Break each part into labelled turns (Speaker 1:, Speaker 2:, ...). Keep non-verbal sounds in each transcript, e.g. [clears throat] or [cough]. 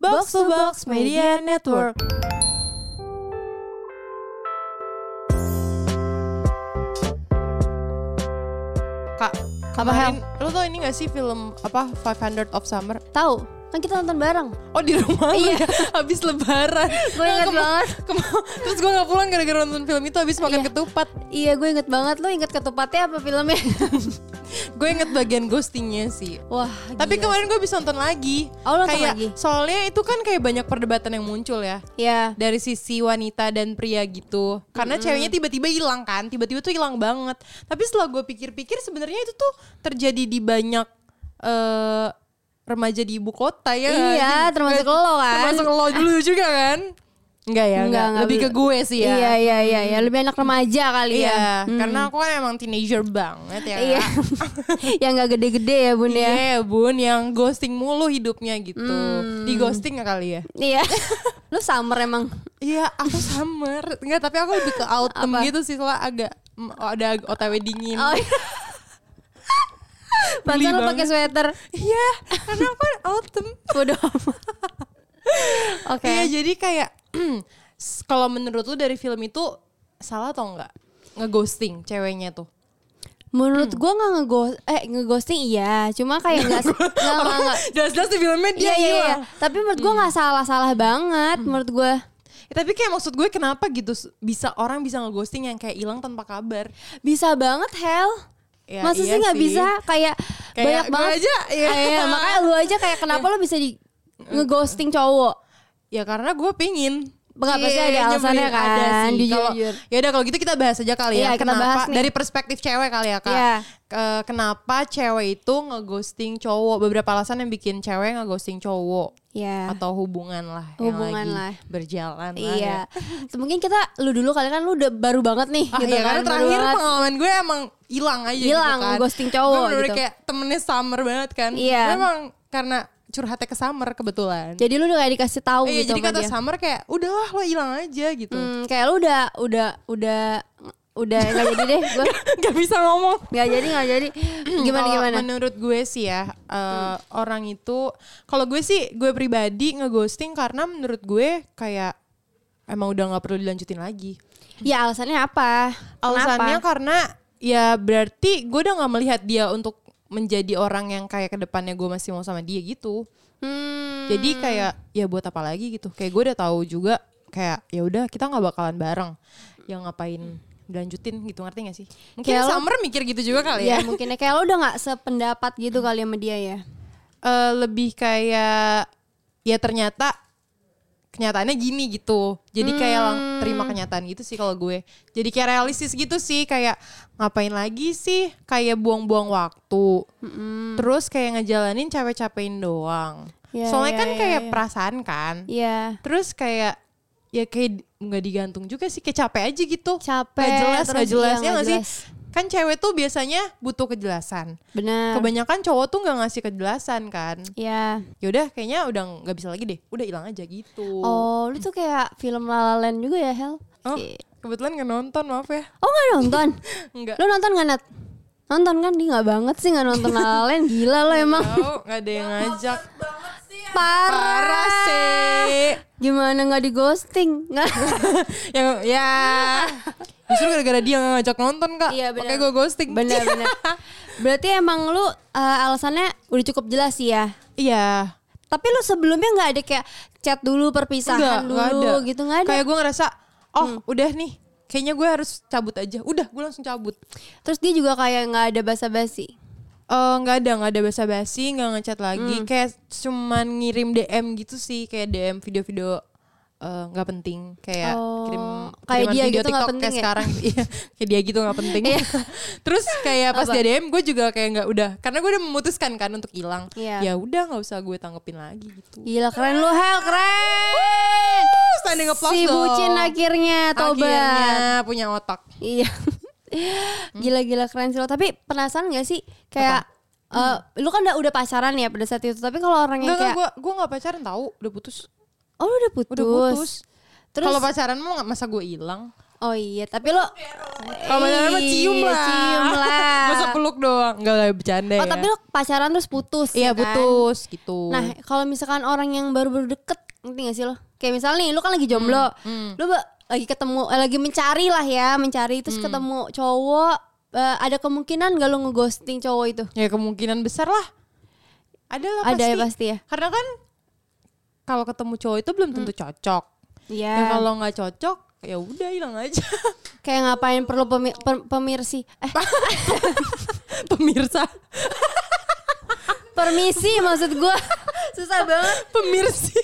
Speaker 1: Box to Box Media Network.
Speaker 2: Kak,
Speaker 3: Apa hal?
Speaker 2: kemarin lo tau ini gak sih film apa 500 of Summer?
Speaker 3: Tahu? Kan kita nonton bareng.
Speaker 2: Oh di rumah lu
Speaker 3: Iya.
Speaker 2: ya, [laughs] habis lebaran.
Speaker 3: Gue inget
Speaker 2: Kema-
Speaker 3: banget.
Speaker 2: kema- Terus gue gak pulang gara-gara nonton film itu habis makan
Speaker 3: Iya.
Speaker 2: ketupat.
Speaker 3: Iya, gue inget banget. Lo inget ketupatnya apa filmnya? [laughs]
Speaker 2: Gue inget bagian ghostingnya sih.
Speaker 3: Wah.
Speaker 2: Tapi
Speaker 3: gila.
Speaker 2: kemarin gue bisa nonton lagi.
Speaker 3: Iya. Oh, lo nonton
Speaker 2: kayak,
Speaker 3: lagi?
Speaker 2: Soalnya itu kan kayak banyak perdebatan yang muncul ya.
Speaker 3: Ya.
Speaker 2: Dari sisi wanita dan pria gitu. Karena ceweknya tiba-tiba hilang kan. Tiba-tiba tuh hilang banget. Tapi setelah gue pikir-pikir sebenarnya itu tuh terjadi di banyak... eh remaja di ibu kota ya nggak
Speaker 3: Iya,
Speaker 2: sih?
Speaker 3: termasuk
Speaker 2: Nggak-
Speaker 3: lo kan.
Speaker 2: termasuk lo
Speaker 3: [laughs]
Speaker 2: dulu juga kan enggak ya enggak, lebih ke gue sih ya
Speaker 3: Iya, iya, iya, iya. Lebih anak remaja kali
Speaker 2: Iya,
Speaker 3: ya.
Speaker 2: karena aku kan emang teenager banget ya
Speaker 3: Iya. [laughs] yang nggak gede-gede ya, Bun
Speaker 2: Iya
Speaker 3: ya.
Speaker 2: bun yang ghosting mulu hidupnya gitu
Speaker 3: Mm.
Speaker 2: Di ghosting ya kali ya [laughs]
Speaker 3: Iya. Lu summer emang.
Speaker 2: Iya aku summer Enggak tapi aku lebih ke autumn
Speaker 3: Apa?
Speaker 2: gitu sih Soalnya agak mm, ada otw dingin
Speaker 3: Oh. iya. Pantesan lu
Speaker 2: banget.
Speaker 3: pakai sweater.
Speaker 2: Iya karena aku kan autumn
Speaker 3: Bodoh amat. Oke.
Speaker 2: Iya jadi kayak [clears throat] s- Kalau menurut lu dari film itu Salah atau enggak? Ngeghosting ceweknya tuh
Speaker 3: Menurut
Speaker 2: Hmm.
Speaker 3: gua nggak ngeghost eh ngeghosting iya, cuma kayak nggak nggak nggak nggak.
Speaker 2: [laughs] Jelas-jelas di filmnya dia
Speaker 3: Iya iya iya.
Speaker 2: hilang
Speaker 3: Tapi menurut gua
Speaker 2: Hmm.
Speaker 3: nggak salah-salah banget menurut gua.
Speaker 2: Ya, tapi kayak maksud gue kenapa gitu s- bisa orang bisa ngeghosting yang kayak hilang tanpa kabar.
Speaker 3: Bisa banget hell.
Speaker 2: Ya,
Speaker 3: Masa
Speaker 2: iya
Speaker 3: sih nggak
Speaker 2: sih.
Speaker 3: bisa kayak,
Speaker 2: Kayak
Speaker 3: banyak
Speaker 2: gue
Speaker 3: banget
Speaker 2: aja, iya. Hmm.
Speaker 3: Iya, makanya lu aja kayak
Speaker 2: [laughs]
Speaker 3: kenapa lu bisa di ngeghosting cowok?
Speaker 2: Ya karena gue pingin.
Speaker 3: Nggak, pasti
Speaker 2: Cie,
Speaker 3: ada alasannya
Speaker 2: nyebelin. Ada
Speaker 3: kan,
Speaker 2: sih.
Speaker 3: jujur,
Speaker 2: Kalau
Speaker 3: jujur.
Speaker 2: ya udah kalau gitu kita bahas aja kali
Speaker 3: Iya,
Speaker 2: ya.
Speaker 3: kita
Speaker 2: kenapa
Speaker 3: bahas nih.
Speaker 2: dari perspektif cewek kali ya kak.
Speaker 3: Iya.
Speaker 2: Ke- kenapa cewek itu ngeghosting cowok? Beberapa alasan yang bikin cewek ngeghosting cowok
Speaker 3: Ya.
Speaker 2: atau hubungan lah. yang
Speaker 3: Hubungan
Speaker 2: lagi
Speaker 3: lah.
Speaker 2: Berjalan lah.
Speaker 3: Iya.
Speaker 2: Ya.
Speaker 3: Mungkin kita lu dulu kali kan lu udah baru banget nih
Speaker 2: Ah,
Speaker 3: gitu
Speaker 2: iya,
Speaker 3: kan.
Speaker 2: karena
Speaker 3: baru
Speaker 2: terakhir
Speaker 3: banget.
Speaker 2: pengalaman gue emang hilang aja
Speaker 3: Hilang,
Speaker 2: gitu kan.
Speaker 3: ghosting cowok
Speaker 2: Gue bener-bener
Speaker 3: gitu.
Speaker 2: kayak temennya summer banget kan.
Speaker 3: Iya.
Speaker 2: Gue Emang karena curhatnya ke summer kebetulan.
Speaker 3: Jadi lu udah kayak dikasih tahu
Speaker 2: iya, jadi
Speaker 3: gitu sama
Speaker 2: kata
Speaker 3: dia.
Speaker 2: summer kayak udahlah lo hilang aja gitu.
Speaker 3: Hmm, kayak lu udah udah udah udah nggak jadi deh gua
Speaker 2: [laughs] Gak bisa ngomong.
Speaker 3: nggak jadi nggak jadi gimana
Speaker 2: Hmm, Kalau
Speaker 3: gimana Hmm.
Speaker 2: Menurut gue sih ya eh, orang itu kalau gue sih gue pribadi ngeghosting karena menurut gue kayak emang udah nggak perlu dilanjutin lagi.
Speaker 3: ya alasannya apa
Speaker 2: Alasannya
Speaker 3: Kenapa?
Speaker 2: karena ya berarti gue udah nggak melihat dia untuk menjadi orang yang kayak kedepannya gue masih mau sama dia gitu.
Speaker 3: Hmm,
Speaker 2: Jadi kayak ya buat apa lagi gitu. Kayak gue udah tahu juga kayak ya udah kita nggak bakalan bareng. Yang ngapain dilanjutin gitu ngerti gak sih? Mungkin
Speaker 3: Kayak lo-
Speaker 2: Summer mikir gitu juga kali ya.
Speaker 3: ya mungkin ya. kayak lu udah nggak sependapat gitu kali sama dia ya
Speaker 2: Eh, lebih kayak ya ternyata kenyataannya gini gitu. Jadi kayak lang-
Speaker 3: Hmm.
Speaker 2: terima kenyataan gitu sih kalau gue. Jadi kayak realistis gitu sih kayak ngapain lagi sih kayak buang-buang waktu. Terus kayak ngejalanin capek-capekin doang.
Speaker 3: Ya,
Speaker 2: Soalnya
Speaker 3: ya,
Speaker 2: kan
Speaker 3: ya,
Speaker 2: kayak
Speaker 3: ya.
Speaker 2: perasaan kan.
Speaker 3: Iya
Speaker 2: Terus kayak ya kayak di- nggak digantung juga sih kayak capek aja gitu.
Speaker 3: Capek,
Speaker 2: Gak jelas,
Speaker 3: terus
Speaker 2: gak jelas ya
Speaker 3: iya, nggak
Speaker 2: nggak sih?
Speaker 3: jelas.
Speaker 2: Kan cewek tuh biasanya butuh kejelasan.
Speaker 3: benar
Speaker 2: Kebanyakan cowok tuh nggak ngasih kejelasan kan.
Speaker 3: ya
Speaker 2: Yaudah kayaknya udah nggak bisa lagi deh. Udah hilang aja gitu.
Speaker 3: oh lu tuh kayak film La La Land juga ya Hel
Speaker 2: Oh,
Speaker 3: Iya.
Speaker 2: kebetulan nggak nonton maaf ya.
Speaker 3: Oh nggak nonton? [laughs]
Speaker 2: Enggak.
Speaker 3: Lo nonton nggak Nat? Nonton kan? Dia nggak banget sih nggak nonton La La Land. Gila lo emang.
Speaker 2: Tahu nggak ada yang ngajak.
Speaker 3: Ya Parah.
Speaker 2: Iya. Parah sih. [laughs]
Speaker 3: Gimana nggak di ghosting? Nggak.
Speaker 2: Yang ya. Justru gara-gara dia nggak ngajak nonton kak.
Speaker 3: Iya, benar.
Speaker 2: Makanya gue ghosting.
Speaker 3: Bener-bener. Berarti emang lu uh, alasannya udah cukup jelas sih ya.
Speaker 2: [laughs] Iya.
Speaker 3: Tapi lu sebelumnya nggak ada kayak chat dulu
Speaker 2: Enggak,
Speaker 3: perpisahan dulu
Speaker 2: enggak ada.
Speaker 3: gitu nggak ada. Hmm.
Speaker 2: Kayak gue ngerasa, oh udah nih, kayaknya gue harus cabut aja. Udah, gue langsung cabut.
Speaker 3: Terus dia juga kayak nggak ada basa-basi.
Speaker 2: Eh, nggak ada, nggak ada basa-basi, nggak ngechat lagi.
Speaker 3: Hmm.
Speaker 2: Kayak cuman ngirim DM gitu sih, kayak DM video-video eh, nggak penting kayak
Speaker 3: Oh,
Speaker 2: kirim
Speaker 3: kayak
Speaker 2: kiriman
Speaker 3: dia
Speaker 2: video
Speaker 3: gitu nggak
Speaker 2: TikTok kayak
Speaker 3: penting ya? Iya.
Speaker 2: sekarang
Speaker 3: [laughs]
Speaker 2: Iya, kayak dia gitu nggak penting [laughs] terus kayak pas
Speaker 3: Apa?
Speaker 2: dia DM gue juga kayak nggak udah karena gue udah memutuskan kan untuk hilang
Speaker 3: Iya.
Speaker 2: ya udah nggak usah gue tanggepin lagi gitu
Speaker 3: Gila keren lu Hel keren.
Speaker 2: standing applause
Speaker 3: si
Speaker 2: dong.
Speaker 3: bucin akhirnya tobat.
Speaker 2: Akhirnya Hmm. punya otak
Speaker 3: Iya. Gila-gila keren sih lo. Tapi penasaran gak sih kayak eh, lu kan udah, udah pacaran ya pada saat itu. Tapi kalau orang yang
Speaker 2: Enggak, enggak,
Speaker 3: kayak
Speaker 2: gue gue nggak pacaran tahu, udah putus.
Speaker 3: oh lu udah putus.
Speaker 2: Udah putus.
Speaker 3: Terus
Speaker 2: Kalau pacaran mau nggak masa gue hilang?
Speaker 3: Oh iya, tapi lo
Speaker 2: Kalau pacaran mah cium
Speaker 3: Iya,
Speaker 2: lah.
Speaker 3: Cium
Speaker 2: [laughs]
Speaker 3: lah.
Speaker 2: Masa peluk doang. Enggak lah bercanda
Speaker 3: Oh
Speaker 2: ya.
Speaker 3: tapi lo pacaran terus putus
Speaker 2: Iya
Speaker 3: ya kan?
Speaker 2: putus gitu.
Speaker 3: Nah kalau misalkan orang yang baru-baru deket Ngerti gak sih lo? Kayak misalnya nih lo kan lagi jomblo Lo ba- lagi ketemu, eh, lagi mencari lah ya Mencari terus ketemu cowok eh, Ada kemungkinan gak lo ngeghosting cowok itu?
Speaker 2: ya kemungkinan besar lah. Ada lah
Speaker 3: Ada
Speaker 2: pasti.
Speaker 3: ya pasti ya? Hmm.
Speaker 2: Karena kan kalau ketemu cowok itu belum tentu cocok.
Speaker 3: Iya
Speaker 2: Ya kalau nggak cocok ya udah hilang aja. [laughs]
Speaker 3: Kayak ngapain perlu pemi per- pemirsi Eh
Speaker 2: Pemirsa,
Speaker 3: permisi [laughs] maksud gue Susah banget
Speaker 2: pemirsi.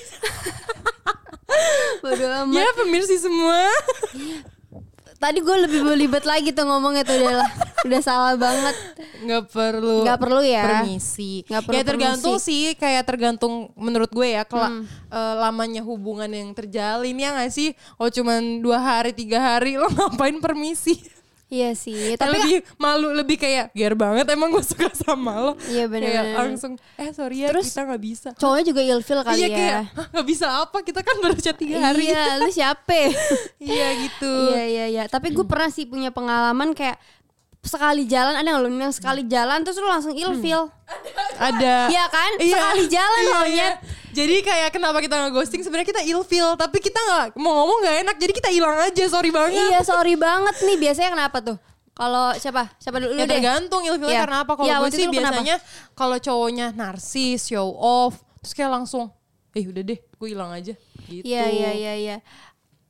Speaker 3: [laughs] Bodo amat
Speaker 2: ya pemirsi semua.
Speaker 3: Tadi gue lebih belibet lagi tuh ngomongnya tuh udah, udah salah banget
Speaker 2: nggak perlu
Speaker 3: Nggak perlu ya.
Speaker 2: permisi
Speaker 3: Nggak perlu
Speaker 2: ya tergantung sih kayak tergantung menurut gue ya kalau
Speaker 3: Hmm.
Speaker 2: lamanya hubungan yang terjalin ya nggak sih oh cuman dua hari tiga hari lo ngapain permisi
Speaker 3: Iya sih
Speaker 2: tapi
Speaker 3: Tapi
Speaker 2: lebih malu lebih kayak gear banget emang gue suka sama lo
Speaker 3: Iya, bener,
Speaker 2: kayak
Speaker 3: bener.
Speaker 2: langsung eh sorry ya kita nggak bisa
Speaker 3: cowoknya juga ilfil kali
Speaker 2: iya
Speaker 3: ya.
Speaker 2: kayak "Hah, nggak bisa apa kita kan baru chat tiga hari
Speaker 3: Iya, lu siapa?
Speaker 2: [laughs] iya gitu
Speaker 3: Iya, iya, iya. Tapi gue pernah sih punya pengalaman kayak sekali jalan ada nggak lu yang sekali jalan terus lu langsung
Speaker 2: Hmm. Oh,
Speaker 3: ilfil.
Speaker 2: ada Iya,
Speaker 3: Iya kan? Sekali jalan maunya.
Speaker 2: jadi kayak kenapa kita nggak ghosting sebenarnya kita ilfil tapi kita nggak mau ngomong nggak enak jadi kita hilang aja sorry banget Ya
Speaker 3: Iya, sorry banget nih. Biasanya kenapa tuh? Kalau siapa? Siapa dulu
Speaker 2: ya
Speaker 3: deh?
Speaker 2: tergantung ilfilnya
Speaker 3: Iya.
Speaker 2: karena apa kalau
Speaker 3: Iya,
Speaker 2: gue
Speaker 3: waktu
Speaker 2: sih
Speaker 3: itu lu kenapa?
Speaker 2: biasanya kalau cowoknya narsis show off terus kayak langsung eh udah deh gue hilang aja gitu
Speaker 3: Iya, iya, iya, iya.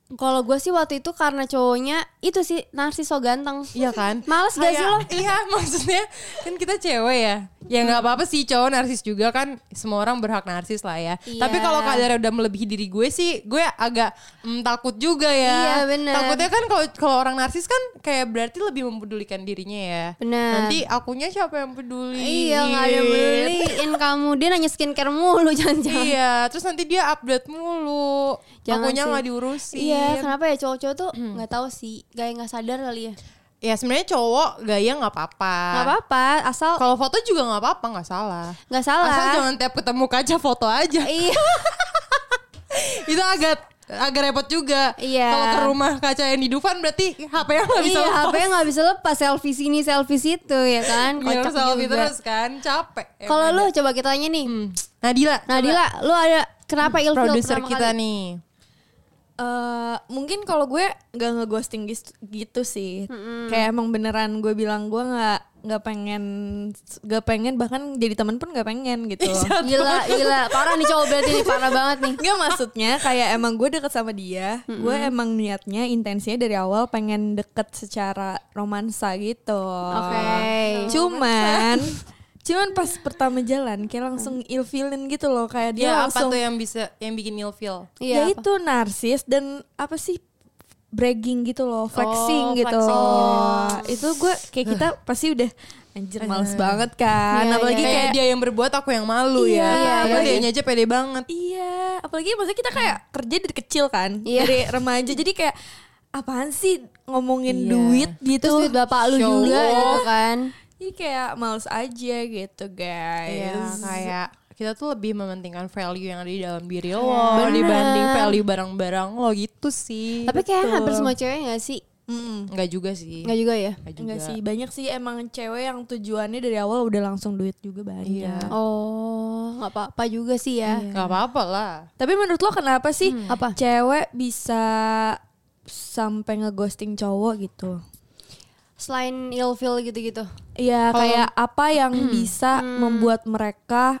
Speaker 3: Kalau gue sih waktu itu karena cowoknya itu sih narsis so ganteng.
Speaker 2: Iya kan?
Speaker 3: Males gak
Speaker 2: Kayak-
Speaker 3: sih lo?
Speaker 2: [laughs] Iya maksudnya kan kita cewek ya. Ya
Speaker 3: Hmm.
Speaker 2: nggak apa-apa sih cowok narsis juga kan semua orang berhak narsis lah ya.
Speaker 3: Iya.
Speaker 2: Tapi kalau kadarnya udah melebihi diri gue sih gue agak mm, takut juga ya.
Speaker 3: Iya, bener.
Speaker 2: Takutnya kan kalau kalau orang narsis kan kayak berarti lebih mempedulikan dirinya ya.
Speaker 3: Bener.
Speaker 2: Nanti akunya siapa yang peduli?
Speaker 3: Iya, nggak ada yang beliin kamu. Dia nanya skincare mulu [laughs] jangan-jangan.
Speaker 2: Iya, terus nanti dia update mulu.
Speaker 3: Jangan
Speaker 2: akunya
Speaker 3: sih.
Speaker 2: nggak diurusin.
Speaker 3: Iya, kenapa ya cowok-cowok tuh
Speaker 2: Hmm.
Speaker 3: nggak tahu sih, gaya nggak sadar kali ya.
Speaker 2: Ya sebenarnya cowok gaya nggak apa-apa.
Speaker 3: Nggak apa-apa, asal
Speaker 2: Ah. Kalau foto juga nggak apa-apa, nggak salah.
Speaker 3: nggak salah.
Speaker 2: Asal jangan tiap ketemu kaca foto aja.
Speaker 3: Iya,
Speaker 2: Itu agak agak repot juga.
Speaker 3: Iya.
Speaker 2: Kalau ke rumah kaca yang di Dufan berarti HP yang nggak bisa
Speaker 3: iya,
Speaker 2: lepas.
Speaker 3: HP nggak bisa lepas selfie sini, selfie situ ya kan.
Speaker 2: Mirror
Speaker 3: Kocak
Speaker 2: Iya, selfie
Speaker 3: juga.
Speaker 2: terus kan capek. ya
Speaker 3: Kalau
Speaker 2: kan?
Speaker 3: lu coba kita tanya nih,
Speaker 2: Nadila,
Speaker 3: Nadila, lu ada kenapa ilfil
Speaker 2: produser
Speaker 3: pertama
Speaker 2: kita
Speaker 3: kali?
Speaker 2: nih.
Speaker 1: Eh, mungkin kalau gue nggak ngeghosting gis- gitu sih kayak emang beneran gue bilang gue nggak nggak pengen nggak pengen bahkan jadi temen pun nggak pengen gitu
Speaker 2: Iya.
Speaker 3: [laughs] Gila, gila, parah nih cowok berarti nih, parah banget nih.
Speaker 1: Nggak maksudnya kayak emang gue deket sama dia gue emang niatnya intensinya dari awal pengen deket secara romansa gitu
Speaker 3: Oke.
Speaker 1: cuman cuman pas pertama jalan kayak langsung ilfilin gitu loh kayak
Speaker 2: Dia
Speaker 1: dia
Speaker 2: Ya, apa
Speaker 1: langsung
Speaker 2: tuh yang bisa yang bikin ilfil?
Speaker 3: Iya.
Speaker 1: ya
Speaker 3: apa?
Speaker 1: itu narsis dan apa sih bragging gitu loh flexing
Speaker 2: Oh,
Speaker 1: gitu
Speaker 2: flexing.
Speaker 1: Wah, itu gue kayak
Speaker 3: [laughs]
Speaker 1: kita pasti udah anjir males banget kan
Speaker 3: Iya,
Speaker 1: apalagi
Speaker 3: iya.
Speaker 2: Kayak,
Speaker 1: kayak
Speaker 2: dia yang berbuat aku yang malu
Speaker 1: Iya,
Speaker 2: ya.
Speaker 1: iya,
Speaker 2: Padahal
Speaker 1: iya.
Speaker 2: dianya aja pede banget.
Speaker 1: Iya, apalagi maksudnya kita kayak kerja dari kecil kan,
Speaker 3: Iya.
Speaker 1: dari remaja. Jadi kayak apaan sih ngomongin
Speaker 2: Iya.
Speaker 1: duit gitu.
Speaker 3: Terus duit bapak lu
Speaker 2: Show
Speaker 3: juga
Speaker 2: off.
Speaker 3: gitu kan.
Speaker 1: Jadi kayak males aja gitu, guys.
Speaker 2: Iya, kayak kita tuh lebih mementingkan value yang ada di dalam diri lo
Speaker 3: Bener.
Speaker 2: dibanding value barang-barang lo gitu sih.
Speaker 3: Tapi kayak hampir semua cewek nggak sih?
Speaker 1: Mm-mm.
Speaker 2: Enggak juga sih.
Speaker 3: Nggak juga ya?
Speaker 2: Nggak juga.
Speaker 1: Enggak sih, banyak sih emang cewek yang tujuannya dari awal udah langsung duit juga banyak.
Speaker 2: Iya.
Speaker 3: Oh, nggak apa-apa juga sih ya.
Speaker 2: Gak apa-apa lah.
Speaker 1: Tapi menurut lo kenapa sih
Speaker 3: Apa?
Speaker 1: cewek bisa sampai ngeghosting cowok gitu?
Speaker 3: Selain ilfil gitu-gitu.
Speaker 1: Iya,
Speaker 2: Kalau-
Speaker 1: kayak apa yang bisa membuat mereka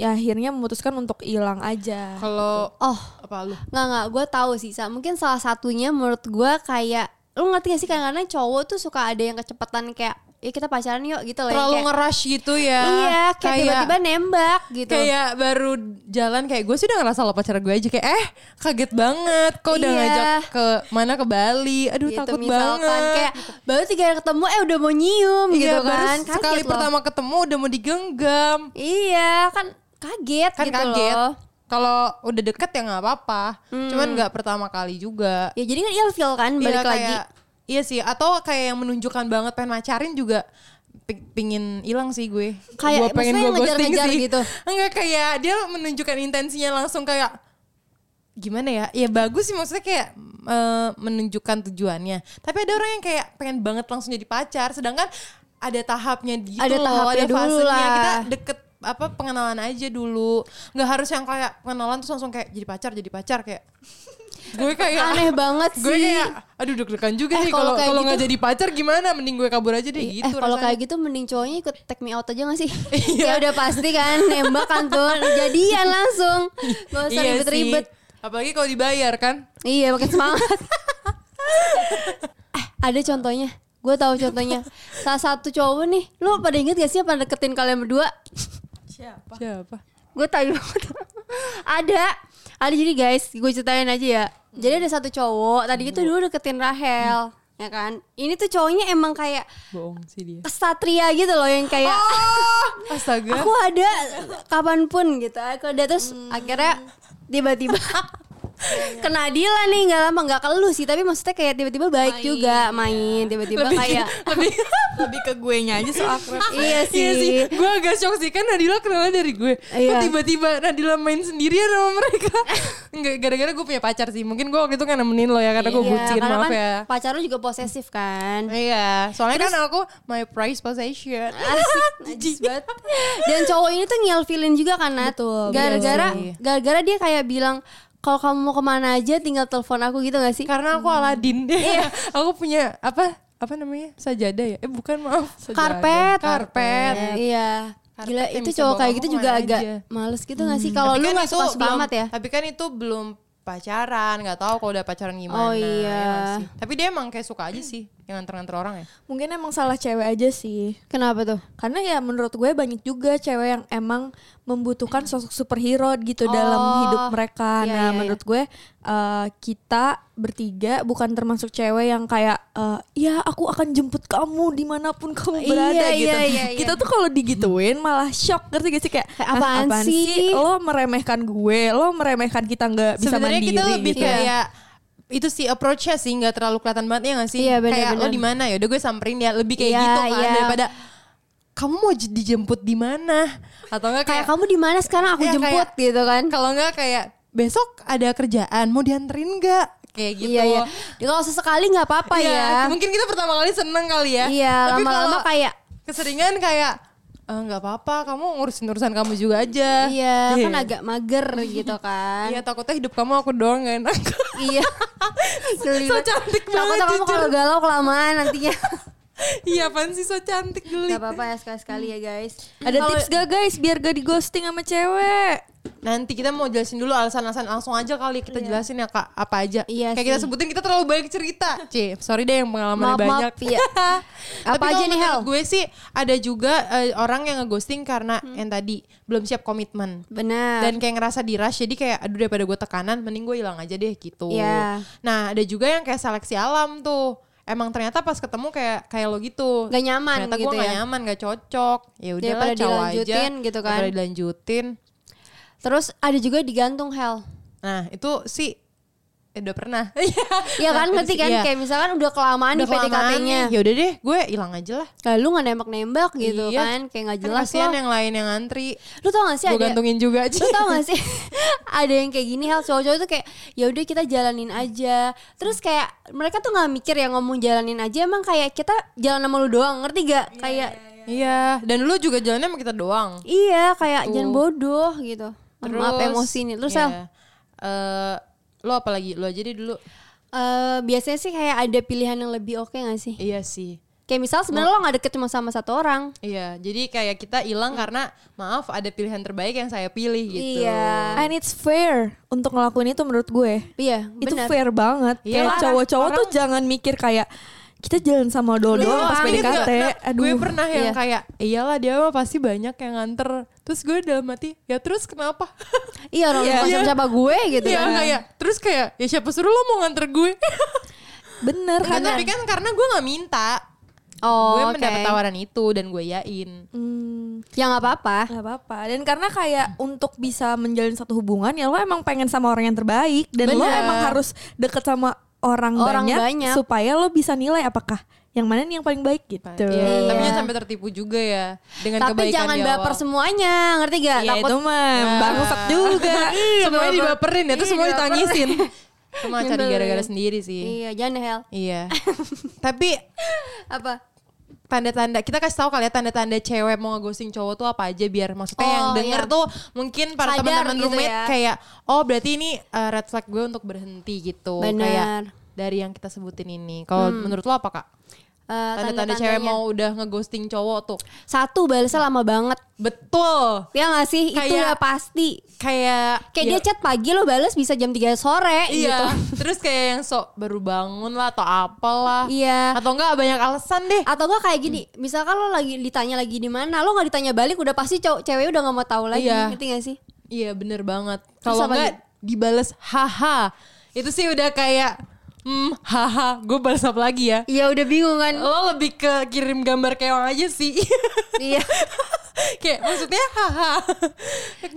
Speaker 1: ya akhirnya memutuskan untuk hilang aja.
Speaker 2: Kalau
Speaker 3: Oh,
Speaker 2: apa lu?
Speaker 3: Nggak, nggak. Gue tahu sih, Sa. Mungkin salah satunya menurut gue kayak... Lu ngerti gak sih kadang-kadang cowok tuh suka ada yang kecepatan kayak... Ya kita pacaran yuk gitu loh. yang
Speaker 2: Terlalu
Speaker 3: kayak-
Speaker 2: ngerush gitu ya.
Speaker 3: Iya, kayak tiba-tiba nembak gitu.
Speaker 2: kayak baru jalan kayak gue sih udah ngerasa lo pacar gue aja kayak eh kaget banget kok udah
Speaker 3: Iya.
Speaker 2: ngajak ke mana ke Bali aduh
Speaker 3: Gitu,
Speaker 2: takut
Speaker 3: misalkan
Speaker 2: banget
Speaker 3: kayak baru tiga hari ketemu eh udah mau nyium
Speaker 2: Iya,
Speaker 3: gitu
Speaker 2: baru
Speaker 3: kan. Kaget
Speaker 2: sekali
Speaker 3: loh.
Speaker 2: pertama ketemu udah mau digenggam
Speaker 3: Iya, kan kaget
Speaker 2: kan
Speaker 3: gitu
Speaker 2: kaget
Speaker 3: loh. Hmm.
Speaker 2: kalau udah deket ya nggak apa-apa cuman nggak pertama kali juga
Speaker 3: Ya jadi kan ilfil kan
Speaker 2: Iya,
Speaker 3: balik lagi.
Speaker 2: kayak- Iya sih, atau kayak yang menunjukkan banget pengen macarin juga pi- pingin hilang sih gue.
Speaker 3: Kayak-
Speaker 2: Gua pengen
Speaker 3: maksudnya
Speaker 2: gue [laughs]
Speaker 3: yang ngejar-ngejar gitu?
Speaker 2: Enggak kayak dia menunjukkan intensinya langsung kayak gimana ya ya bagus sih maksudnya kayak eh, menunjukkan tujuannya tapi ada orang yang kayak pengen banget langsung jadi pacar sedangkan ada tahapnya gitu
Speaker 3: Ada
Speaker 2: loh,
Speaker 3: tahapnya dulu lah.
Speaker 2: kita deket apa pengenalan aja dulu nggak harus yang kayak pengenalan terus langsung kayak jadi pacar jadi pacar kayak [laughs] gue kayak
Speaker 3: Aneh banget
Speaker 2: gue
Speaker 3: sih.
Speaker 2: kayak aduh deg-degan juga
Speaker 3: Eh,
Speaker 2: nih
Speaker 3: kalau
Speaker 2: kalau
Speaker 3: kayak
Speaker 2: kalau nggak
Speaker 3: gitu-
Speaker 2: jadi pacar gimana mending gue kabur aja deh gitu
Speaker 3: eh
Speaker 2: rasanya.
Speaker 3: kalau
Speaker 2: Iya.
Speaker 3: kayak gitu mending cowoknya ikut take me out aja
Speaker 2: [laughs]
Speaker 3: gak sih? ya udah pasti kan nembak kan tuh jadian langsung. Gak usah
Speaker 2: Iya
Speaker 3: ribet-ribet.
Speaker 2: sih. apalagi kalau dibayar kan
Speaker 3: Iya makin semangat. eh ada contohnya. Gue tahu contohnya. Salah satu cowok nih. Lu pada inget gak sih yang pada deketin kalian berdua?
Speaker 1: Siapa?
Speaker 2: siapa
Speaker 3: Gue tahu [laughs] banget. ada. Ada jadi guys, gue ceritain aja ya. Jadi ada satu cowok tadi
Speaker 2: Hmm.
Speaker 3: itu dulu deketin Rahel, ya kan? Ini tuh cowoknya emang kayak
Speaker 2: bohong sih dia
Speaker 3: kesatria gitu loh yang kayak
Speaker 2: astaga
Speaker 3: Oh. aku ada kapanpun gitu aku ada terus akhirnya tiba-tiba kena Dila nih nggak lama nggak kelu sih tapi maksudnya kayak tiba-tiba baik
Speaker 1: Main,
Speaker 3: juga main tiba-tiba kayak
Speaker 1: lebih lebih ke gue nya aja [laughs] so akrab.
Speaker 3: [laughs]
Speaker 2: [laughs] Iya
Speaker 3: iya
Speaker 2: sih,
Speaker 3: sih
Speaker 2: gue agak shock sih kan Nadila kenalnya dari gue. Kok
Speaker 3: Iya.
Speaker 2: tiba-tiba Nadila main sendirian sama
Speaker 3: [laughs]
Speaker 2: mereka. Enggak, gara-gara gue punya pacar sih. Mungkin gue waktu itu nggak nemenin lo ya karena gue
Speaker 3: Iya,
Speaker 2: bucin
Speaker 3: karena
Speaker 2: maaf
Speaker 3: kan [laughs]
Speaker 2: ya.
Speaker 3: pacar lu juga posesif
Speaker 2: [laughs]
Speaker 3: kan
Speaker 2: Iya, soalnya kan aku my prize possession.
Speaker 3: Asik, najis banget. Dan cowok ini tuh ngilfilin juga kan Nat Gara-gara
Speaker 2: betul.
Speaker 3: Gara-gara dia kayak bilang kalau kamu mau kemana aja tinggal telepon aku gitu gak sih?
Speaker 2: Karena aku [laughs] Aladin. aku punya apa? Apa namanya? Sajadah ya? Eh bukan maaf.
Speaker 3: karpet
Speaker 2: Karpet.
Speaker 3: iya
Speaker 2: Karpet
Speaker 3: gila
Speaker 2: yang
Speaker 3: itu
Speaker 2: bisa
Speaker 3: cowok
Speaker 2: bawa
Speaker 3: kayak
Speaker 2: kamu
Speaker 3: gitu juga
Speaker 2: kemana
Speaker 3: agak
Speaker 2: aja.
Speaker 3: males gitu nggak sih kalau
Speaker 2: Tapi
Speaker 3: lu
Speaker 2: kan
Speaker 3: nggak
Speaker 2: itu
Speaker 3: suka suka
Speaker 2: belum-
Speaker 3: amat ya
Speaker 2: Tapi kan itu belum pacaran, nggak tahu kalau udah pacaran gimana.
Speaker 3: Oh,
Speaker 2: ya
Speaker 3: iya.
Speaker 2: nggak sih? Tapi dia emang kayak suka aja sih, yang nganter-nganter orang ya.
Speaker 1: Mungkin emang salah cewek aja sih.
Speaker 3: kenapa tuh
Speaker 1: Karena ya menurut gue banyak juga cewek yang emang membutuhkan sosok superhero gitu dalam hidup
Speaker 3: iya,
Speaker 1: mereka. nah,
Speaker 3: iya, iya.
Speaker 1: menurut gue eh, kita bertiga bukan termasuk cewek yang kayak eh, ya aku akan jemput kamu dimanapun kamu
Speaker 3: Iya,
Speaker 1: berada
Speaker 3: iya,
Speaker 1: gitu.
Speaker 3: iya, iya.
Speaker 1: Kita tuh kalau digituin malah shock ngerti gak sih kayak
Speaker 3: Kayak
Speaker 1: "Hah,
Speaker 3: apaan sih?"
Speaker 1: Lo meremehkan gue, lo meremehkan kita nggak bisa
Speaker 2: Sebenarnya
Speaker 1: mandiri.
Speaker 2: kita lebih
Speaker 1: gitu.
Speaker 2: kayak itu sih approach-nya sih nggak terlalu kelihatan banget ya nggak sih?
Speaker 3: Iya,
Speaker 2: kayak lo
Speaker 3: benar-benar.
Speaker 2: di mana ya? Udah gue samperin ya lebih kayak
Speaker 3: Iya,
Speaker 2: gitu kan
Speaker 3: iya.
Speaker 2: daripada kamu mau j- dijemput di mana atau enggak kayak,
Speaker 3: kayak kamu di mana sekarang aku
Speaker 2: Iya,
Speaker 3: jemput
Speaker 2: kayak-
Speaker 3: gitu kan
Speaker 2: kalau enggak kayak besok ada kerjaan mau dianterin enggak? Kayak gitu.
Speaker 3: iya iya Ya, kalau sesekali nggak apa-apa
Speaker 2: Iya,
Speaker 3: ya
Speaker 2: Mungkin kita pertama kali seneng kali ya.
Speaker 3: iya
Speaker 2: Tapi kalau
Speaker 3: lama-lama kayak
Speaker 2: keseringan kayak "Eh, nggak apa-apa, kamu ngurusin urusan kamu juga aja.
Speaker 3: iya kan agak mager gitu kan
Speaker 2: Iya takutnya hidup kamu aku doang gak enak.
Speaker 3: iya Geli
Speaker 2: so
Speaker 3: banget.
Speaker 2: cantik
Speaker 3: takut
Speaker 2: banget.
Speaker 3: kamu
Speaker 2: jujur.
Speaker 3: kalau galau kelamaan
Speaker 2: [laughs]
Speaker 3: nantinya
Speaker 2: [laughs] Iya apaan sih so cantik geli
Speaker 3: nggak apa-apa ya sekali-sekali ya guys
Speaker 1: Ada
Speaker 3: Kalau-
Speaker 1: tips gak guys biar gak di ghosting sama cewek?
Speaker 2: Nanti kita mau jelasin dulu alasan-alasan Langsung aja kali kita jelasin ya kak Apa aja Kayak
Speaker 3: Iya sih.
Speaker 2: kita sebutin kita terlalu banyak cerita C, sorry deh yang pengalamannya
Speaker 3: Maaf,
Speaker 2: banyak
Speaker 3: maaf, iya.
Speaker 2: [laughs] Tapi
Speaker 3: Apa aja
Speaker 2: kalau
Speaker 3: nih,
Speaker 2: menurut
Speaker 3: Hel?
Speaker 2: gue sih Ada juga eh, orang yang ngeghosting karena Yang tadi belum siap komitmen
Speaker 3: Hmm. benar
Speaker 2: dan kayak ngerasa di rush jadi kayak aduh daripada gue tekanan mending gue hilang aja deh gitu
Speaker 3: Iya.
Speaker 2: nah ada juga yang kayak seleksi alam tuh emang ternyata pas ketemu kayak kayak lo gitu
Speaker 3: Gak nyaman
Speaker 2: ternyata
Speaker 3: gitu
Speaker 2: gue gak
Speaker 3: ya.
Speaker 2: nyaman gak cocok ya udah
Speaker 3: Daripada
Speaker 2: cowok aja
Speaker 3: dilanjutin gitu kan.
Speaker 2: daripada dilanjutin
Speaker 3: Terus ada juga digantung
Speaker 2: [laughs]
Speaker 3: hell.
Speaker 2: nah itu sih eh, udah pernah
Speaker 3: Iya kan ngerti kan
Speaker 2: Iya.
Speaker 3: kayak misalkan udah kelamaan
Speaker 2: udah
Speaker 3: di PDKT-nya.
Speaker 2: ya udah deh gue hilang aja lah
Speaker 3: Lalu nggak nembak-nembak gitu
Speaker 2: Iya.
Speaker 3: kan kayak nggak
Speaker 2: Kan
Speaker 3: jelas
Speaker 2: kasihan
Speaker 3: loh.
Speaker 2: yang lain yang antri
Speaker 3: Lu tau gak sih
Speaker 2: gue
Speaker 3: ada
Speaker 2: gantungin juga aja
Speaker 3: [laughs] Lu tau
Speaker 2: [laughs]
Speaker 3: gak sih [laughs] ada yang kayak gini hal cowok-cowok tuh kayak ya udah kita jalanin aja. Terus kayak mereka tuh nggak mikir ya ngomong jalanin aja emang kayak kita jalan sama lu doang ngerti gak? Kayak
Speaker 2: iya dan lu juga jalannya sama kita doang
Speaker 3: iya kayak jangan bodoh gitu. Terus, Maaf emosi nih. Terus Hel,
Speaker 2: iya. Eh, lo apa lagi? Lo aja deh dulu.
Speaker 3: eh, biasanya sih kayak ada pilihan yang lebih oke gak sih?
Speaker 2: Iya sih.
Speaker 3: Kayak misal sebenarnya lo gak deket cuma sama satu orang.
Speaker 2: Iya, jadi kayak kita hilang karena maaf ada pilihan terbaik yang saya pilih gitu.
Speaker 3: Iya.
Speaker 1: And it's fair untuk ngelakuin itu menurut gue.
Speaker 3: Iya,
Speaker 1: itu
Speaker 3: benar.
Speaker 1: fair banget.
Speaker 2: Iya.
Speaker 1: Kayak cowok-cowok tuh jangan mikir kayak kita jalan sama dodo
Speaker 2: Iya,
Speaker 1: pas
Speaker 2: inget
Speaker 1: PDKT.
Speaker 2: nggak? Nah,
Speaker 1: Aduh.
Speaker 2: Gue pernah yang
Speaker 3: Iya.
Speaker 2: kayak iyalah dia mah pasti banyak yang nganter. Terus gue dalam hati, ya terus kenapa?
Speaker 3: Iya orang
Speaker 1: Iya.
Speaker 3: yeah.
Speaker 2: Iya.
Speaker 3: siapa gue gitu
Speaker 2: [laughs] Iya
Speaker 3: kan.
Speaker 2: kayak terus kayak ya siapa suruh lo mau nganter gue? [laughs]
Speaker 1: Bener
Speaker 2: Nggak,
Speaker 1: karena
Speaker 2: tapi kan karena gue nggak minta.
Speaker 3: Oh,
Speaker 2: gue
Speaker 3: oke.
Speaker 2: mendapat tawaran itu dan gue yain.
Speaker 1: Hmm,
Speaker 3: Ya nggak apa-apa.
Speaker 1: nggak apa-apa. Dan karena kayak untuk bisa menjalin satu hubungan ya lo emang pengen sama orang yang terbaik dan lo
Speaker 2: Bener.
Speaker 1: emang harus deket sama orang,
Speaker 3: Orang
Speaker 1: banyak,
Speaker 3: banyak.
Speaker 1: supaya lo bisa nilai apakah yang mana nih yang paling baik gitu.
Speaker 2: Iya,
Speaker 3: Iya.
Speaker 2: Tapi jangan sampai tertipu juga ya dengan
Speaker 3: Tapi
Speaker 2: kebaikan
Speaker 3: jangan
Speaker 2: di awal.
Speaker 3: baper semuanya, ngerti gak?
Speaker 1: Iya itu mah
Speaker 2: Nah.
Speaker 1: bangsat
Speaker 2: [laughs]
Speaker 1: juga.
Speaker 2: Iya,
Speaker 3: Iya,
Speaker 2: Semuanya dibaperin ya, terus semua
Speaker 3: dibaperin.
Speaker 2: ditangisin. Cuma cari
Speaker 3: Nyebelin.
Speaker 2: gara-gara sendiri sih.
Speaker 3: [laughs] Iya, jangan hell.
Speaker 2: Iya. Tapi
Speaker 3: Apa?
Speaker 2: tanda-tanda kita kasih tahu kali ya tanda-tanda cewek mau ngeghosting cowok tuh apa aja biar maksudnya
Speaker 3: Oh,
Speaker 2: yang denger
Speaker 3: iya.
Speaker 2: tuh mungkin para
Speaker 3: Sadar
Speaker 2: teman-teman
Speaker 3: gitu
Speaker 2: roommate
Speaker 3: ya.
Speaker 2: kayak oh berarti ini uh, red flag gue untuk berhenti gitu
Speaker 3: Benar.
Speaker 2: kayak dari yang kita sebutin ini. Kalau
Speaker 3: Hmm.
Speaker 2: menurut lo apa kak?
Speaker 3: Eh,
Speaker 2: Tanda-tanda cewek
Speaker 3: tanda-tandanya.
Speaker 2: mau udah ngeghosting cowok tuh.
Speaker 3: Satu balasnya lama banget.
Speaker 2: Betul.
Speaker 3: Ya gak sih? itu
Speaker 2: Kayak-
Speaker 3: udah pasti.
Speaker 2: Kayak
Speaker 3: Kayak
Speaker 2: ya-
Speaker 3: dia chat pagi lo balas bisa jam 3 sore gitu.
Speaker 2: Iya. [laughs] Terus kayak yang sok baru bangun lah atau apalah.
Speaker 3: Iya.
Speaker 2: Atau enggak banyak alasan deh.
Speaker 3: Atau gua kayak gini,
Speaker 2: Hmm.
Speaker 3: misalkan lo lagi ditanya lagi di mana, lo nggak ditanya balik udah pasti cowok cewek udah nggak mau tahu lagi,
Speaker 2: Iya.
Speaker 3: ngerti gak sih?
Speaker 2: Iya bener banget.
Speaker 3: Terus
Speaker 2: Kalau
Speaker 3: apa
Speaker 2: enggak dibales haha. Itu sih udah kayak hmm haha. Gue balas apa lagi ya?
Speaker 3: Iya udah bingung kan.
Speaker 2: Lo lebih ke kirim gambar keong aja sih. [laughs]
Speaker 3: iya.
Speaker 2: kayak maksudnya haha.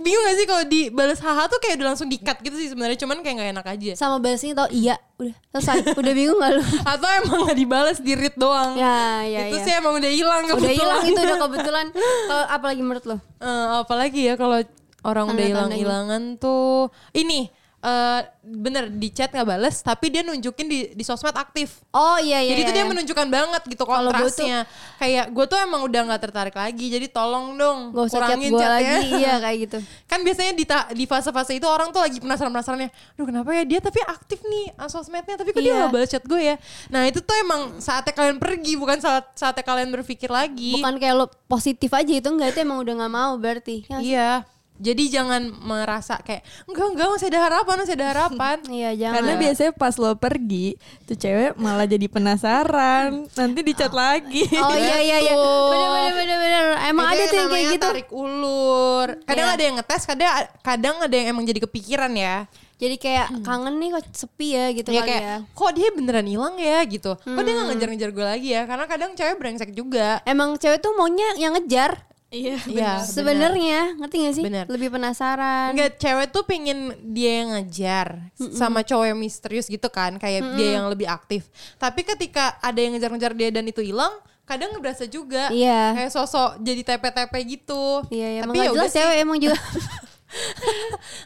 Speaker 2: Bingung gak sih kalau dibales haha tuh kayak udah langsung di-cut gitu sih sebenarnya. Cuman kayak nggak enak aja.
Speaker 3: Sama balasnya tau iya, udah selesai. udah bingung gak lo?
Speaker 2: [laughs] Atau emang nggak dibales di read doang.
Speaker 3: Ya, ya,
Speaker 2: itu
Speaker 3: ya.
Speaker 2: sih emang udah hilang
Speaker 3: udah
Speaker 2: kebetulan.
Speaker 3: hilang itu udah kebetulan. Kalau apalagi menurut lo?
Speaker 2: [laughs] Eh, apalagi ya kalau orang udah
Speaker 3: Tanda-tandanya.
Speaker 2: hilang-hilangan tuh ini eh bener di chat nggak bales tapi dia nunjukin di di sosmed aktif.
Speaker 3: Oh iya iya.
Speaker 2: Jadi
Speaker 3: iya,
Speaker 2: itu dia
Speaker 3: iya.
Speaker 2: menunjukkan banget gitu
Speaker 3: Kalau gua
Speaker 2: kontrasnya. Kayak gue tuh emang udah nggak tertarik lagi. Jadi tolong dong
Speaker 3: Gak usah chat
Speaker 2: kurangin ya.
Speaker 3: gue
Speaker 2: chatnya.
Speaker 3: lagi,
Speaker 2: [laughs]
Speaker 3: iya kayak gitu.
Speaker 2: Kan biasanya di ta- di fase-fase itu orang tuh lagi penasaran-penasarannya. Duh kenapa ya dia tapi aktif nih ah, sosmednya tapi kok dia
Speaker 3: Iya.
Speaker 2: nggak balas chat gue ya. Nah itu tuh emang saatnya kalian pergi bukan saat saatnya kalian berpikir lagi.
Speaker 3: Bukan ya kayak lo positif aja itu enggak itu emang udah nggak mau berarti. Ya, nggak sih?
Speaker 2: Iya. Jadi jangan merasa kayak enggak enggak masih ada harapan, masih ada harapan.
Speaker 3: Iya jangan.
Speaker 1: Karena biasanya pas lo pergi, tuh cewek malah jadi penasaran. Nanti dicat lagi.
Speaker 3: Oh iya iya iya.
Speaker 2: Betul.
Speaker 3: Bener bener bener bener. [laughs] Emang
Speaker 2: Jadi
Speaker 3: ada tuh yang kayak
Speaker 2: gitu. namanya
Speaker 3: gitu.
Speaker 2: tarik ulur. Kadang
Speaker 3: Iya.
Speaker 2: ada yang ngetes, kadang kadang ada yang emang jadi kepikiran ya.
Speaker 3: Jadi kayak kangen nih kok sepi ya gitu
Speaker 2: Ya
Speaker 3: kali
Speaker 2: kayak
Speaker 3: ya.
Speaker 2: kok dia beneran hilang ya gitu. Kok dia
Speaker 3: Hmm.
Speaker 2: gak ngejar-ngejar gue lagi ya? Karena kadang cewek brengsek juga.
Speaker 3: Emang cewek tuh maunya yang ngejar
Speaker 1: [laughs] Iya.
Speaker 2: Iya. bener.
Speaker 3: sebenarnya, ngerti gak sih?
Speaker 2: Bener.
Speaker 3: Lebih penasaran.
Speaker 2: Enggak, cewek tuh pengen dia yang ngejar sama cowok yang misterius gitu kan, kayak dia yang lebih aktif. Tapi ketika ada yang ngejar-ngejar dia dan itu hilang, kadang berasa juga
Speaker 3: Iya.
Speaker 2: kayak sosok jadi tepe-tepe gitu.
Speaker 3: Iya, iya,
Speaker 2: tapi
Speaker 3: emang
Speaker 2: ya
Speaker 3: gak
Speaker 2: udah
Speaker 3: jelas
Speaker 2: sih. [laughs]
Speaker 3: cewek emang juga.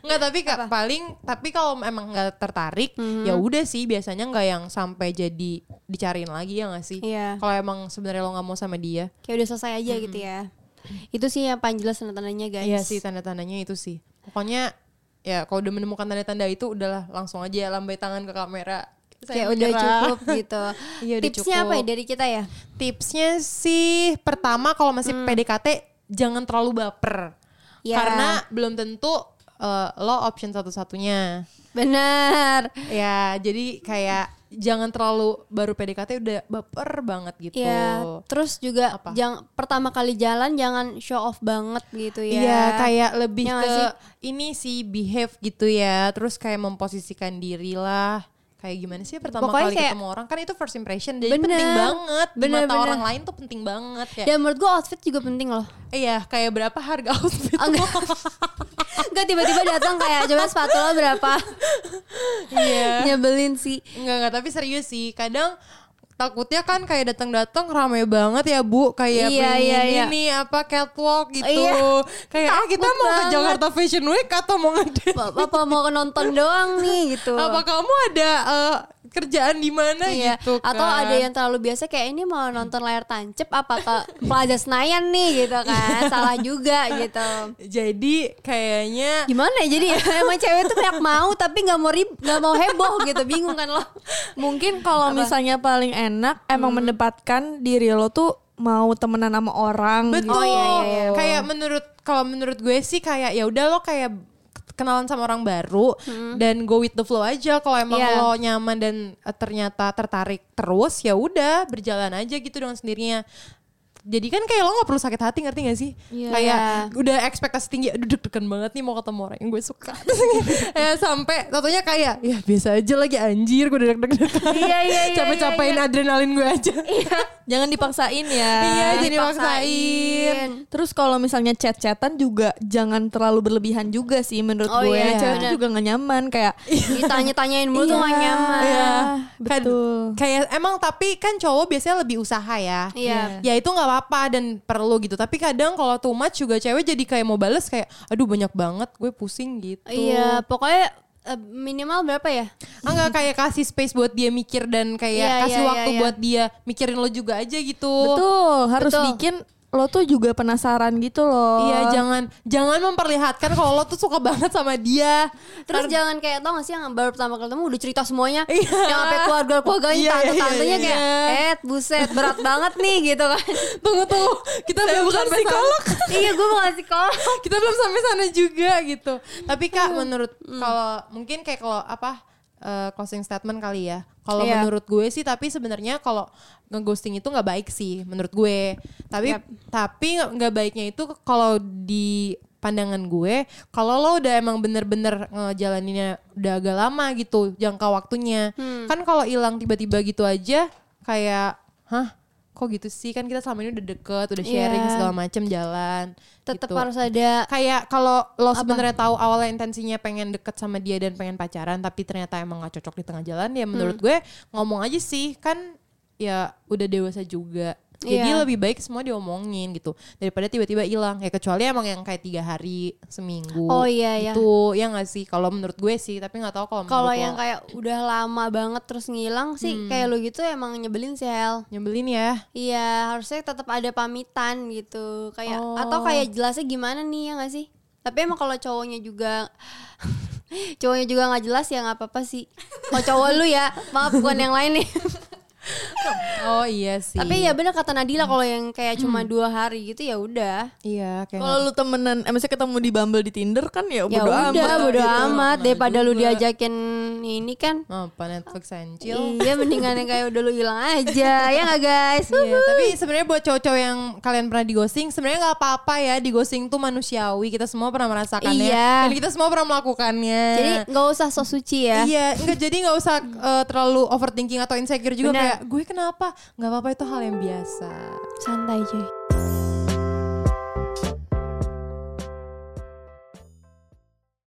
Speaker 2: Enggak, tapi Kak, paling tapi kalau emang nggak tertarik,
Speaker 3: Mm-hmm.
Speaker 2: ya udah sih biasanya nggak yang sampai jadi dicariin lagi ya nggak sih?
Speaker 3: Iya.
Speaker 2: Kalau emang sebenarnya lo nggak mau sama dia.
Speaker 3: kayak udah selesai aja gitu ya. Itu sih yang paling jelas tanda-tandanya guys.
Speaker 2: Iya sih tanda-tandanya itu sih. Pokoknya ya kalau udah menemukan tanda-tanda itu udahlah langsung aja lambai tangan ke kamera.
Speaker 3: Kayak
Speaker 2: Saya
Speaker 3: udah
Speaker 2: menyerah. [laughs]
Speaker 3: cukup gitu.
Speaker 2: Iya, udah
Speaker 3: Tipsnya apa ya
Speaker 2: cukup.
Speaker 3: dari kita ya?
Speaker 2: Tipsnya sih pertama kalau masih PDKT jangan terlalu baper.
Speaker 3: Hmm. Ya.
Speaker 2: Karena belum tentu eh, lo option satu-satunya.
Speaker 3: Benar.
Speaker 2: Ya, jadi kayak jangan terlalu baru PDKT udah baper banget gitu.
Speaker 3: Iya, terus juga
Speaker 2: Apa?
Speaker 3: jangan pertama kali jalan jangan show off banget gitu ya.
Speaker 2: Iya, kayak lebih
Speaker 3: Ya nggak
Speaker 2: ke
Speaker 3: sih?
Speaker 2: ini sih behave gitu ya. Terus kayak memposisikan diri lah. Kayak gimana sih pertama kali
Speaker 3: Pokoknya kayak-
Speaker 2: ketemu orang kan itu first impression jadi
Speaker 3: Bener,
Speaker 2: penting banget di
Speaker 3: bener,
Speaker 2: mata
Speaker 3: bener.
Speaker 2: orang lain tuh penting banget ya.
Speaker 3: Dan menurut gua outfit juga penting loh. [laughs]
Speaker 2: Iya, kayak berapa harga outfit
Speaker 3: Ah, Enggak.
Speaker 2: lo?
Speaker 3: [laughs] Enggak tiba-tiba datang kayak coba sepatu lo berapa?
Speaker 2: Iya.
Speaker 3: Nyebelin sih.
Speaker 2: Enggak enggak tapi serius sih. Kadang takutnya kan kayak datang-datang rame banget ya Bu, kayak
Speaker 3: Iya,
Speaker 2: pengen
Speaker 3: iya, iya.
Speaker 2: ini apa catwalk gitu.
Speaker 3: Iya.
Speaker 2: Kayak ah, kita
Speaker 3: Takut
Speaker 2: mau ke
Speaker 3: banget.
Speaker 2: Jakarta Fashion Week atau mau
Speaker 3: [laughs]
Speaker 2: ngedate?
Speaker 3: Apa, apa mau nonton doang nih gitu.
Speaker 2: Apa kamu ada eh, kerjaan di mana
Speaker 3: Iya.
Speaker 2: gitu kan?
Speaker 3: Atau ada yang terlalu biasa kayak ini mau nonton layar tancep apa ke Plaza Senayan nih gitu kan. Salah juga gitu.
Speaker 2: jadi kayaknya
Speaker 3: Gimana ya [laughs] jadi ya? emang cewek tuh banyak mau tapi nggak mau rib, nggak mau heboh gitu. Bingung kan lo?
Speaker 1: Mungkin kalau misalnya paling enak emang mendapatkan diri lo tuh mau temenan sama orang. gitu.
Speaker 2: betul.
Speaker 3: Oh, iya, iya, iya.
Speaker 2: Kayak menurut kalau menurut gue sih kayak ya udah lo kayak kenalan sama orang baru dan go with the flow aja kalau emang
Speaker 3: Hmm. Iya.
Speaker 2: lo nyaman dan eh, ternyata tertarik terus ya udah berjalan aja gitu dengan sendirinya jadi kan kayak lo gak perlu sakit hati ngerti gak sih?
Speaker 1: Iya.
Speaker 2: Kayak udah ekspektasi tinggi, aduh deg-degan banget nih mau ketemu orang yang gue
Speaker 3: [laughs]
Speaker 2: suka. Terus kayak, eh, sampai tentunya kayak ya biasa aja lagi anjir gue udah deg-degan.
Speaker 3: Iya, iya, iya,
Speaker 2: Capek-capekin
Speaker 3: iya,
Speaker 2: adrenalin gue aja.
Speaker 1: Jangan dipaksain ya.
Speaker 2: Iya, jadi
Speaker 3: Dipaksain.
Speaker 2: maksain.
Speaker 1: Terus kalau misalnya chat-chatan juga jangan terlalu berlebihan juga sih menurut
Speaker 3: Oh
Speaker 1: gue.
Speaker 3: iya,
Speaker 1: Cewek
Speaker 3: bener.
Speaker 1: tuh juga gak nyaman kayak
Speaker 3: Ditanya-tanyain mulu tuh gak
Speaker 1: Iya.
Speaker 3: nyaman.
Speaker 1: Iya,
Speaker 2: Kan-
Speaker 1: betul.
Speaker 2: kayak emang tapi kan cowok biasanya lebih usaha ya.
Speaker 3: Iya.
Speaker 2: Ya itu nggak apa-apa dan perlu gitu. Tapi kadang kalau too much juga cewek jadi kayak mau bales kayak aduh banyak banget gue pusing gitu.
Speaker 3: Iya, pokoknya eh, minimal berapa ya?
Speaker 2: Enggak Ah, kayak kasih space buat dia mikir dan kayak
Speaker 3: Iya,
Speaker 2: kasih
Speaker 3: iya,
Speaker 2: waktu
Speaker 3: iya, iya.
Speaker 2: buat dia mikirin lo juga aja gitu.
Speaker 1: Betul, harus
Speaker 3: Betul.
Speaker 1: bikin lo tuh juga penasaran gitu loh.
Speaker 2: Iya jangan jangan memperlihatkan kalau lo tuh suka banget sama dia.
Speaker 3: Terus jangan kayak tau gak sih yang baru pertama ketemu udah cerita semuanya
Speaker 2: Iya.
Speaker 3: Yang sampai keluarga-keluarganya,
Speaker 2: Iya, iya, iya,
Speaker 3: tante-tantenya
Speaker 2: iya.
Speaker 3: kayak Eh buset berat banget nih gitu kan
Speaker 2: Tunggu tunggu kita belum
Speaker 1: bukan
Speaker 2: sampai
Speaker 1: psikolog.
Speaker 2: sana.
Speaker 3: [laughs] Iya gue bukan psikolog
Speaker 2: [laughs] kita belum sampai sana juga gitu. Tapi
Speaker 3: Hmm.
Speaker 2: kak menurut kalau mungkin kayak kalau apa eh, closing statement kali ya. Kalau
Speaker 1: Iya.
Speaker 2: menurut gue sih tapi sebenarnya kalau ngeghosting itu nggak baik sih menurut gue. Tapi
Speaker 3: Yap.
Speaker 2: tapi nggak baiknya itu kalau di pandangan gue kalau lo udah emang bener-bener ngejalaninnya udah agak lama gitu jangka waktunya
Speaker 3: Hmm.
Speaker 2: kan kalau hilang tiba-tiba gitu aja kayak hah kok gitu sih kan kita selama ini udah deket udah sharing
Speaker 3: Iya.
Speaker 2: segala macem jalan
Speaker 3: Tetap
Speaker 2: gitu
Speaker 3: harus ada
Speaker 2: kayak kalau lo sebenarnya tahu awalnya intensinya pengen deket sama dia dan pengen pacaran tapi ternyata emang nggak cocok di tengah jalan ya menurut
Speaker 3: Hmm.
Speaker 2: gue ngomong aja sih kan ya udah dewasa juga jadi
Speaker 3: Iya.
Speaker 2: lebih baik semua diomongin gitu daripada tiba-tiba hilang ya kecuali emang yang kayak tiga hari seminggu
Speaker 3: Oh, iya, iya.
Speaker 2: itu ya nggak sih kalau menurut gue sih tapi nggak tahu kalau menurut
Speaker 3: Kalau
Speaker 2: lo.
Speaker 3: yang kayak udah lama banget terus ngilang sih Kayak lu gitu emang nyebelin sih Hel
Speaker 2: nyebelin ya
Speaker 3: Iya harusnya tetap ada pamitan gitu kayak
Speaker 2: Oh.
Speaker 3: Atau kayak jelasnya gimana nih ya gak sih Tapi emang kalau cowoknya juga [laughs] Cowoknya juga gak jelas ya gak apa-apa sih Kalau cowok lu ya Maaf bukan
Speaker 2: [laughs]
Speaker 3: yang lain nih
Speaker 2: oh iya sih
Speaker 3: Tapi ya bener kata Nadila kalau yang kayak cuma dua hari gitu ya udah.
Speaker 2: iya kayak
Speaker 1: Kalau lu temenan, eh, maksudnya ketemu di Bumble di Tinder kan ya
Speaker 3: Ya
Speaker 1: bodo
Speaker 3: udah
Speaker 1: amat.
Speaker 3: bodo
Speaker 1: gitu.
Speaker 3: amat
Speaker 2: Bener
Speaker 3: daripada lu
Speaker 2: juga.
Speaker 3: diajakin ini kan.
Speaker 2: Oh, apa Netflix and chill
Speaker 3: Iya mendingan yang kayak udah lu hilang
Speaker 1: [laughs]
Speaker 3: aja. ya gak guys?
Speaker 2: Iya, tapi sebenarnya buat cowok-cowok yang kalian pernah digosing, sebenarnya nggak apa-apa ya digosing tuh manusiawi. Kita semua pernah merasakannya
Speaker 3: Iya.
Speaker 2: dan kita semua pernah melakukannya.
Speaker 3: Jadi iya. nggak usah sok suci ya.
Speaker 2: Iya, enggak jadi nggak usah eh, terlalu overthinking atau insecure juga
Speaker 3: Benar.
Speaker 2: kayak gue kenapa? Nggak apa-apa itu hal yang biasa.
Speaker 3: Santai cuy.